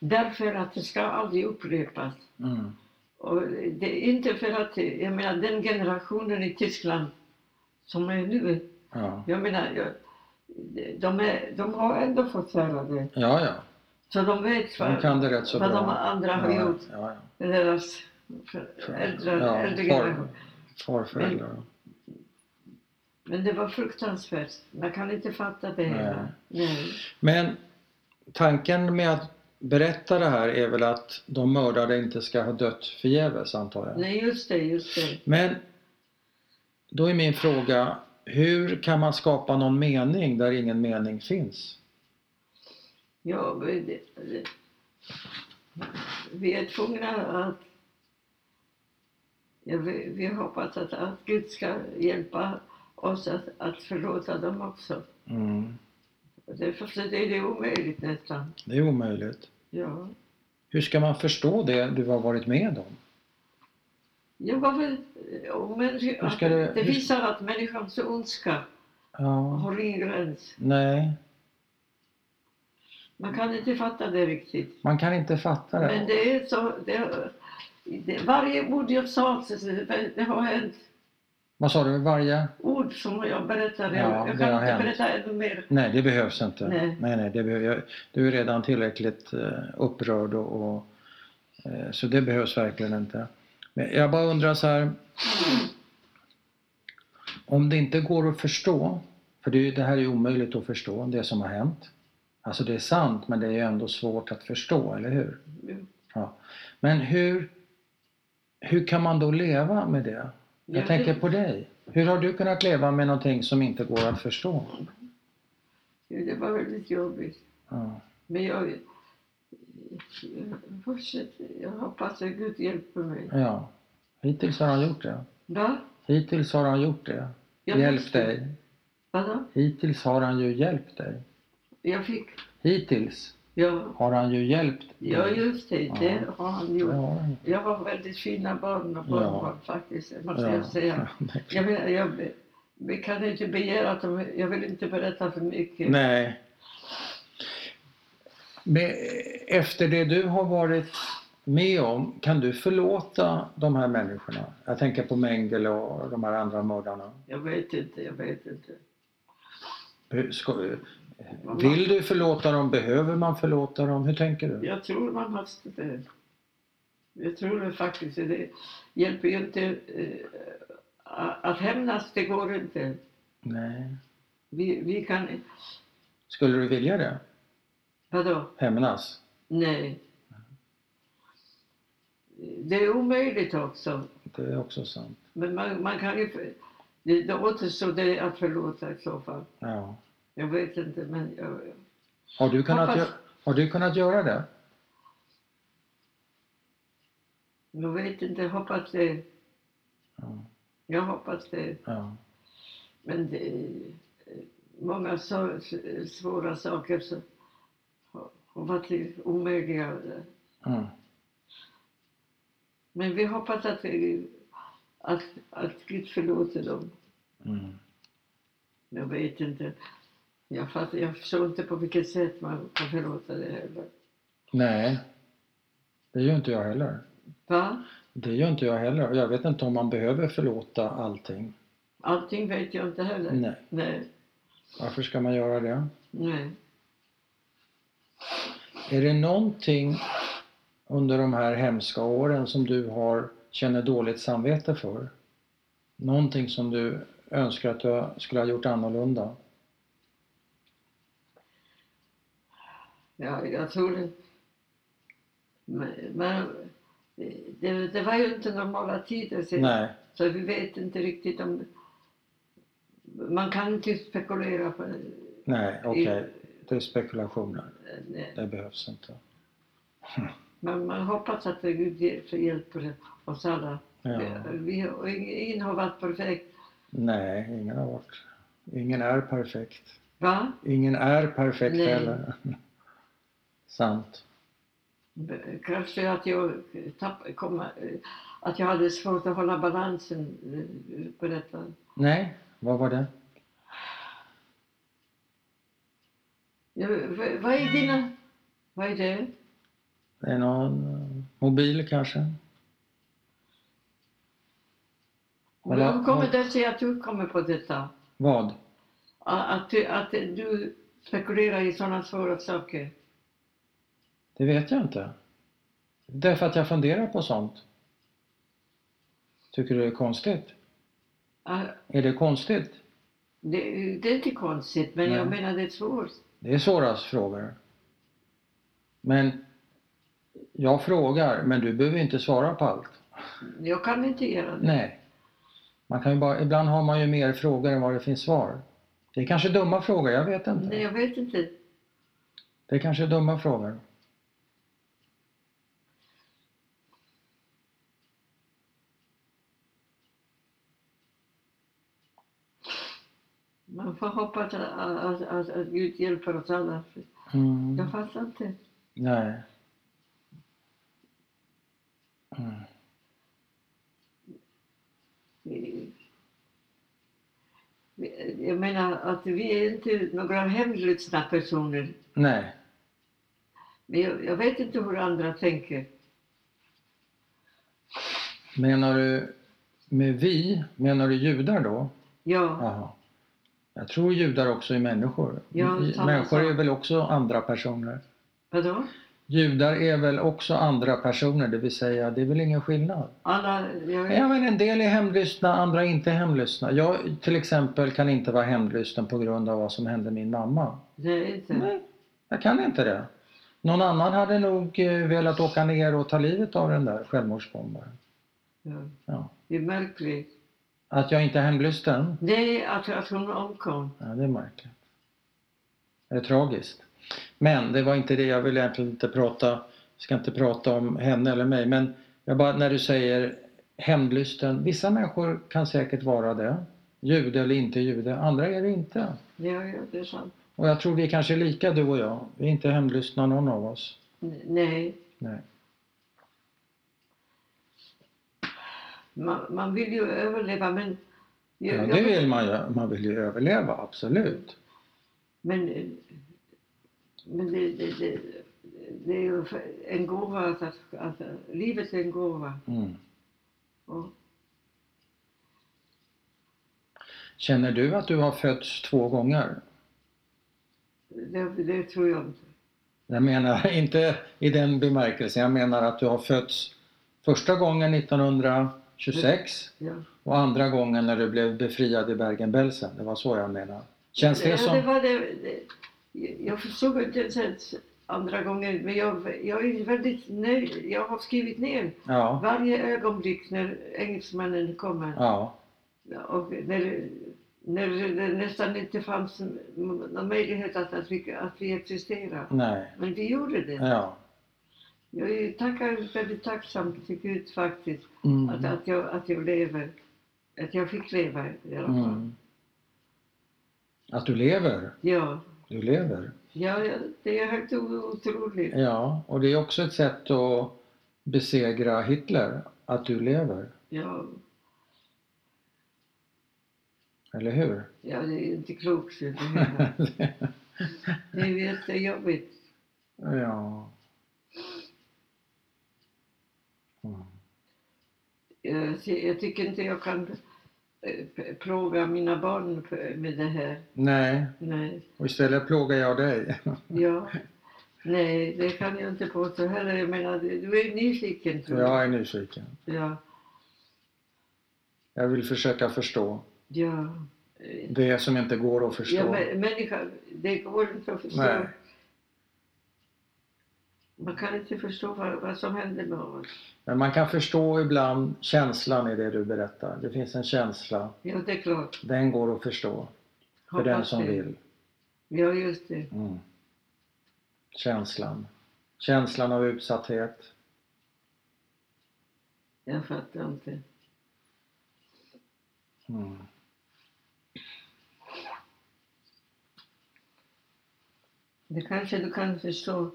A: Därför att det ska aldrig upprepas.
B: Mm.
A: Och det är inte för att, jag menar den generationen i Tyskland som är nu,
B: Ja.
A: jag menar, jag, de, är, de har ändå fått höra det.
B: ja, ja,
A: Så de vet
B: de
A: vad,
B: kan det rätt så
A: vad de
B: bra.
A: andra har
B: Ja,
A: gjort,
B: ja,
A: deras äldre,
B: Ja,
A: äldre
B: far-
A: generation.
B: Farföräldrar.
A: Men det var fruktansvärt. Man kan inte fatta det
B: Nej.
A: hela. Nej.
B: Men tanken med att berätta det här är väl att de mördade inte ska ha dött förgäves, antar jag?
A: Nej, just det, just det.
B: Men då är min fråga, hur kan man skapa någon mening där ingen mening finns?
A: Ja, men det, det. Vi är tvungna att... Ja, vi, vi hoppas att, att Gud ska hjälpa oss att, att förlåta dem också.
B: Mm.
A: Därför så är det omöjligt nästan.
B: Det är omöjligt.
A: Ja.
B: Hur ska man förstå det du har varit med om?
A: Ja, varför, och människa,
B: Hur
A: att,
B: ska det-
A: det
B: hur-
A: visar att människans ondska
B: Ja,
A: har ingen gräns.
B: nej,
A: Man kan inte fatta det riktigt.
B: man kan inte fatta
A: Men
B: det.
A: det är så... Det, det, varje ord jag sa, så- så- det har hänt.
B: Vad sa du? Varje?
A: ord som jag berättade.
B: Ja,
A: jag
B: det
A: kan
B: har
A: inte
B: hänt.
A: berätta ännu mer.
B: Nej, det behövs inte.
A: Nej.
B: nej, nej det behöver jag, du är redan tillräckligt eh, upprörd och, och eh, så det behövs verkligen inte. Men jag bara undrar så här. Om det inte går att förstå, för det, är ju- det här är ju omöjligt att förstå, det som har hänt. Alltså det är sant, men det är ju ändå svårt att förstå, eller hur? Ja. Men hur, hur kan man då leva med det? Jag
A: Ja,
B: tänker
A: det-
B: på dig. Hur har du kunnat leva med någonting som inte går att förstå?
A: Jo, Det var väldigt jobbigt.
B: Ja.
A: Men jag... Jag, fortsätter. jag hoppas att Gud hjälper mig.
B: ja. Hittills har han gjort det.
A: Va?
B: Hittills har han gjort det.
A: Jag
B: hjälpt
A: måste-
B: dig.
A: Vadå?
B: Hittills har han ju hjälpt dig.
A: Jag fick...
B: Hittills
A: Ja,
B: har han ju hjälpt dig.
A: ja just det. Det har han
B: Det
A: gjort.
B: har han.
A: Jag har väldigt fina barn och barnbarn faktiskt, måste
B: Ja.
A: jag säga.
B: det är klart.
A: Jag, menar, jag, be- vi kan inte begära att de... Jag vill inte berätta för mycket.
B: Nej. Men eh, efter det du har varit med om, kan du förlåta de här människorna? Jag tänker på Mengele och de här andra mördarna.
A: Jag vet inte, jag vet inte.
B: Hur Ska, vill du förlåta dem? Behöver man förlåta dem? Hur tänker du?
A: Jag tror man måste det. Jag tror det faktiskt. Det hjälper ju inte. eh, Att hämnas, det går inte.
B: Nej.
A: Vi, vi kan...
B: Skulle du vilja det?
A: Vadå?
B: Hämnas?
A: Nej. Det är omöjligt också.
B: Det är också sant.
A: Men man, man kan ju... Det, det återstår det att förlåta i så fall.
B: Ja.
A: Jag vet inte, men jag,
B: Har, du kunnat
A: Hoppas-
B: gö- har du kunnat göra det?
A: jag vet inte. Jag hoppas det.
B: Ja.
A: Jag hoppas det.
B: ja.
A: Men det är eh, många så, svåra saker som har varit omöjliga. eh.
B: Mm.
A: Men vi hoppas att, vi, att, att Gud förlåter dem.
B: Mm.
A: Jag vet inte. Jag, fattar, jag förstår inte på vilket sätt man kan förlåta det heller.
B: Nej, det gör inte jag heller.
A: Va?
B: Det gör inte jag heller. Och Jag vet inte om man behöver förlåta allting.
A: Allting vet jag inte heller.
B: Nej.
A: Nej.
B: Varför ska man göra det?
A: Nej.
B: Är det någonting under de här hemska åren som du har känner dåligt samvete för? Någonting som du önskar att du skulle ha gjort annorlunda?
A: Ja, jag tror det. Men, men det, det var ju inte normala tider. Så,
B: Nej,
A: så vi vet inte riktigt om... Man kan inte spekulera på
B: nej, okej.
A: I-
B: Det är spekulationer.
A: nej.
B: Det behövs inte.
A: Men man hoppas att Gud ger- hjälper oss alla.
B: Ja.
A: Vi, och ingen har varit perfekt.
B: Nej, ingen har varit. Ingen är perfekt.
A: Va?
B: Ingen är perfekt
A: Nej.
B: heller. Sant.
A: Kanske att jag, tapp, kom, att jag hade svårt att hålla balansen eh, på detta.
B: Nej, vad var det?
A: Ja, v- vad är dina... Vad är det?
B: Det är någon eh, mobil kanske?
A: Om
B: Hålla-
A: jag kommer där säga att du kommer på detta.
B: Vad?
A: A- Att du, att du spekulerar i sådana svåra saker.
B: Det vet jag inte. Därför att jag funderar på sånt. Tycker du det är konstigt?
A: Ah,
B: Är det konstigt?
A: Det, det är inte konstigt, men jag
B: Nej.
A: menar det är svårt.
B: Det är svårast frågor. Men jag frågar, men du behöver inte svara på allt.
A: Jag kan inte göra det.
B: Nej. Man kan ju bara, ibland har man ju mer frågor än vad det finns svar. Det är kanske dumma frågor, jag vet inte.
A: Nej, jag vet inte.
B: Det är kanske är dumma frågor.
A: Man får hoppas att, att, att, att Gud hjälper oss alla.
B: Mm.
A: Jag fattar inte.
B: Nej. Mm.
A: Jag menar att vi är inte några hemlösa personer.
B: Nej.
A: Men jag, jag vet inte hur andra tänker.
B: Menar du med vi, menar du judar då?
A: Ja,
B: Jaha. Jag tror judar också är människor.
A: Ja,
B: Vi-
A: samma
B: människor
A: sak.
B: är väl också andra personer?
A: vadå?
B: Judar är väl också andra personer, det vill säga det är väl ingen skillnad?
A: Alla, jag,
B: Ja, men en del är hemlystna, andra är inte hemlystna. Jag till exempel kan inte vara hemlysten på grund av vad som hände min mamma.
A: det är inte.
B: Nej, jag kan inte det. Någon annan hade nog eh, velat åka ner och ta livet av den där självmordsbombaren.
A: Ja.
B: Ja.
A: Det är märkligt.
B: Att jag inte är hemlysten?
A: Nej, att, att hon omkom.
B: Ja, det är märkligt. Det är tragiskt. Men det var inte det jag ville egentligen inte prata, ska inte prata om henne eller mig. Men jag bara, när du säger hemlysten, vissa människor kan säkert vara det. Jude eller inte jude, andra är det inte.
A: Ja, ja, det är sant.
B: Och jag tror vi är kanske lika du och jag. Vi är inte hemlystna någon av oss.
A: N- Nej,
B: Nej.
A: man, man vill ju överleva men... Jag,
B: Ja,
A: jag
B: det
A: vet-
B: vill man ju. Man vill ju överleva, absolut.
A: Men, eh, men det, det, det, det är ju för- en gåva, att, att, att livet är en gåva.
B: Mm.
A: Och
B: Känner du att du har fötts två gånger?
A: det, det tror jag inte.
B: Jag menar inte i den bemärkelsen. Jag menar att du har fötts första gången 1926
A: Ja.
B: och andra gången när du blev befriad i Bergen-Belsen. Det var så jag menar. Känns det
A: ja, det
B: som...
A: var det, det, jag förstod inte ens andra gången. Men jag, jag är väldigt nöjd. Jag har skrivit ner
B: Ja,
A: varje ögonblick när engelsmännen kommer.
B: ja,
A: Och när, när det nästan inte fanns någon möjlighet att, att, vi, att vi existerar.
B: nej,
A: Men vi gjorde det.
B: ja.
A: Jag är tackar, väldigt tacksam till Gud faktiskt att,
B: Mm.
A: att, jag, att jag lever. Att jag fick leva i alla fall.
B: Mm. Att du lever,
A: Ja.
B: du lever.
A: ja, ja, det är helt o- otroligt.
B: Ja, och det är också ett sätt att besegra Hitler, att du lever,
A: Ja,
B: eller hur?
A: ja, det är inte klokt. Det är- det är jättejobbigt.
B: ja. Mm.
A: Jag, ty- Eh, jag tycker inte jag kan eh, p- plåga mina barn för- med det här.
B: Nej,
A: Nej.
B: och istället plågar jag dig.
A: Ja. Nej, det kan jag inte påstå heller. Jag menar, du är nyfiken tror jag.
B: Jag är nyfiken.
A: Ja.
B: Jag vill försöka förstå
A: ja. Eh,
B: det som inte går att förstå.
A: ja mä- människa, det går inte att förstå.
B: Nej.
A: Man kan inte förstå vad, vad som händer med oss.
B: Men man kan förstå ibland känslan i det du berättar. Det finns en känsla.
A: Ja, det är klart.
B: Den går att förstå för den
A: Hoppas
B: som
A: det.
B: vill.
A: Ja, just det.
B: Mm. Känslan. Känslan av utsatthet.
A: Jag fattar inte.
B: Mm.
A: Det kanske du kan förstå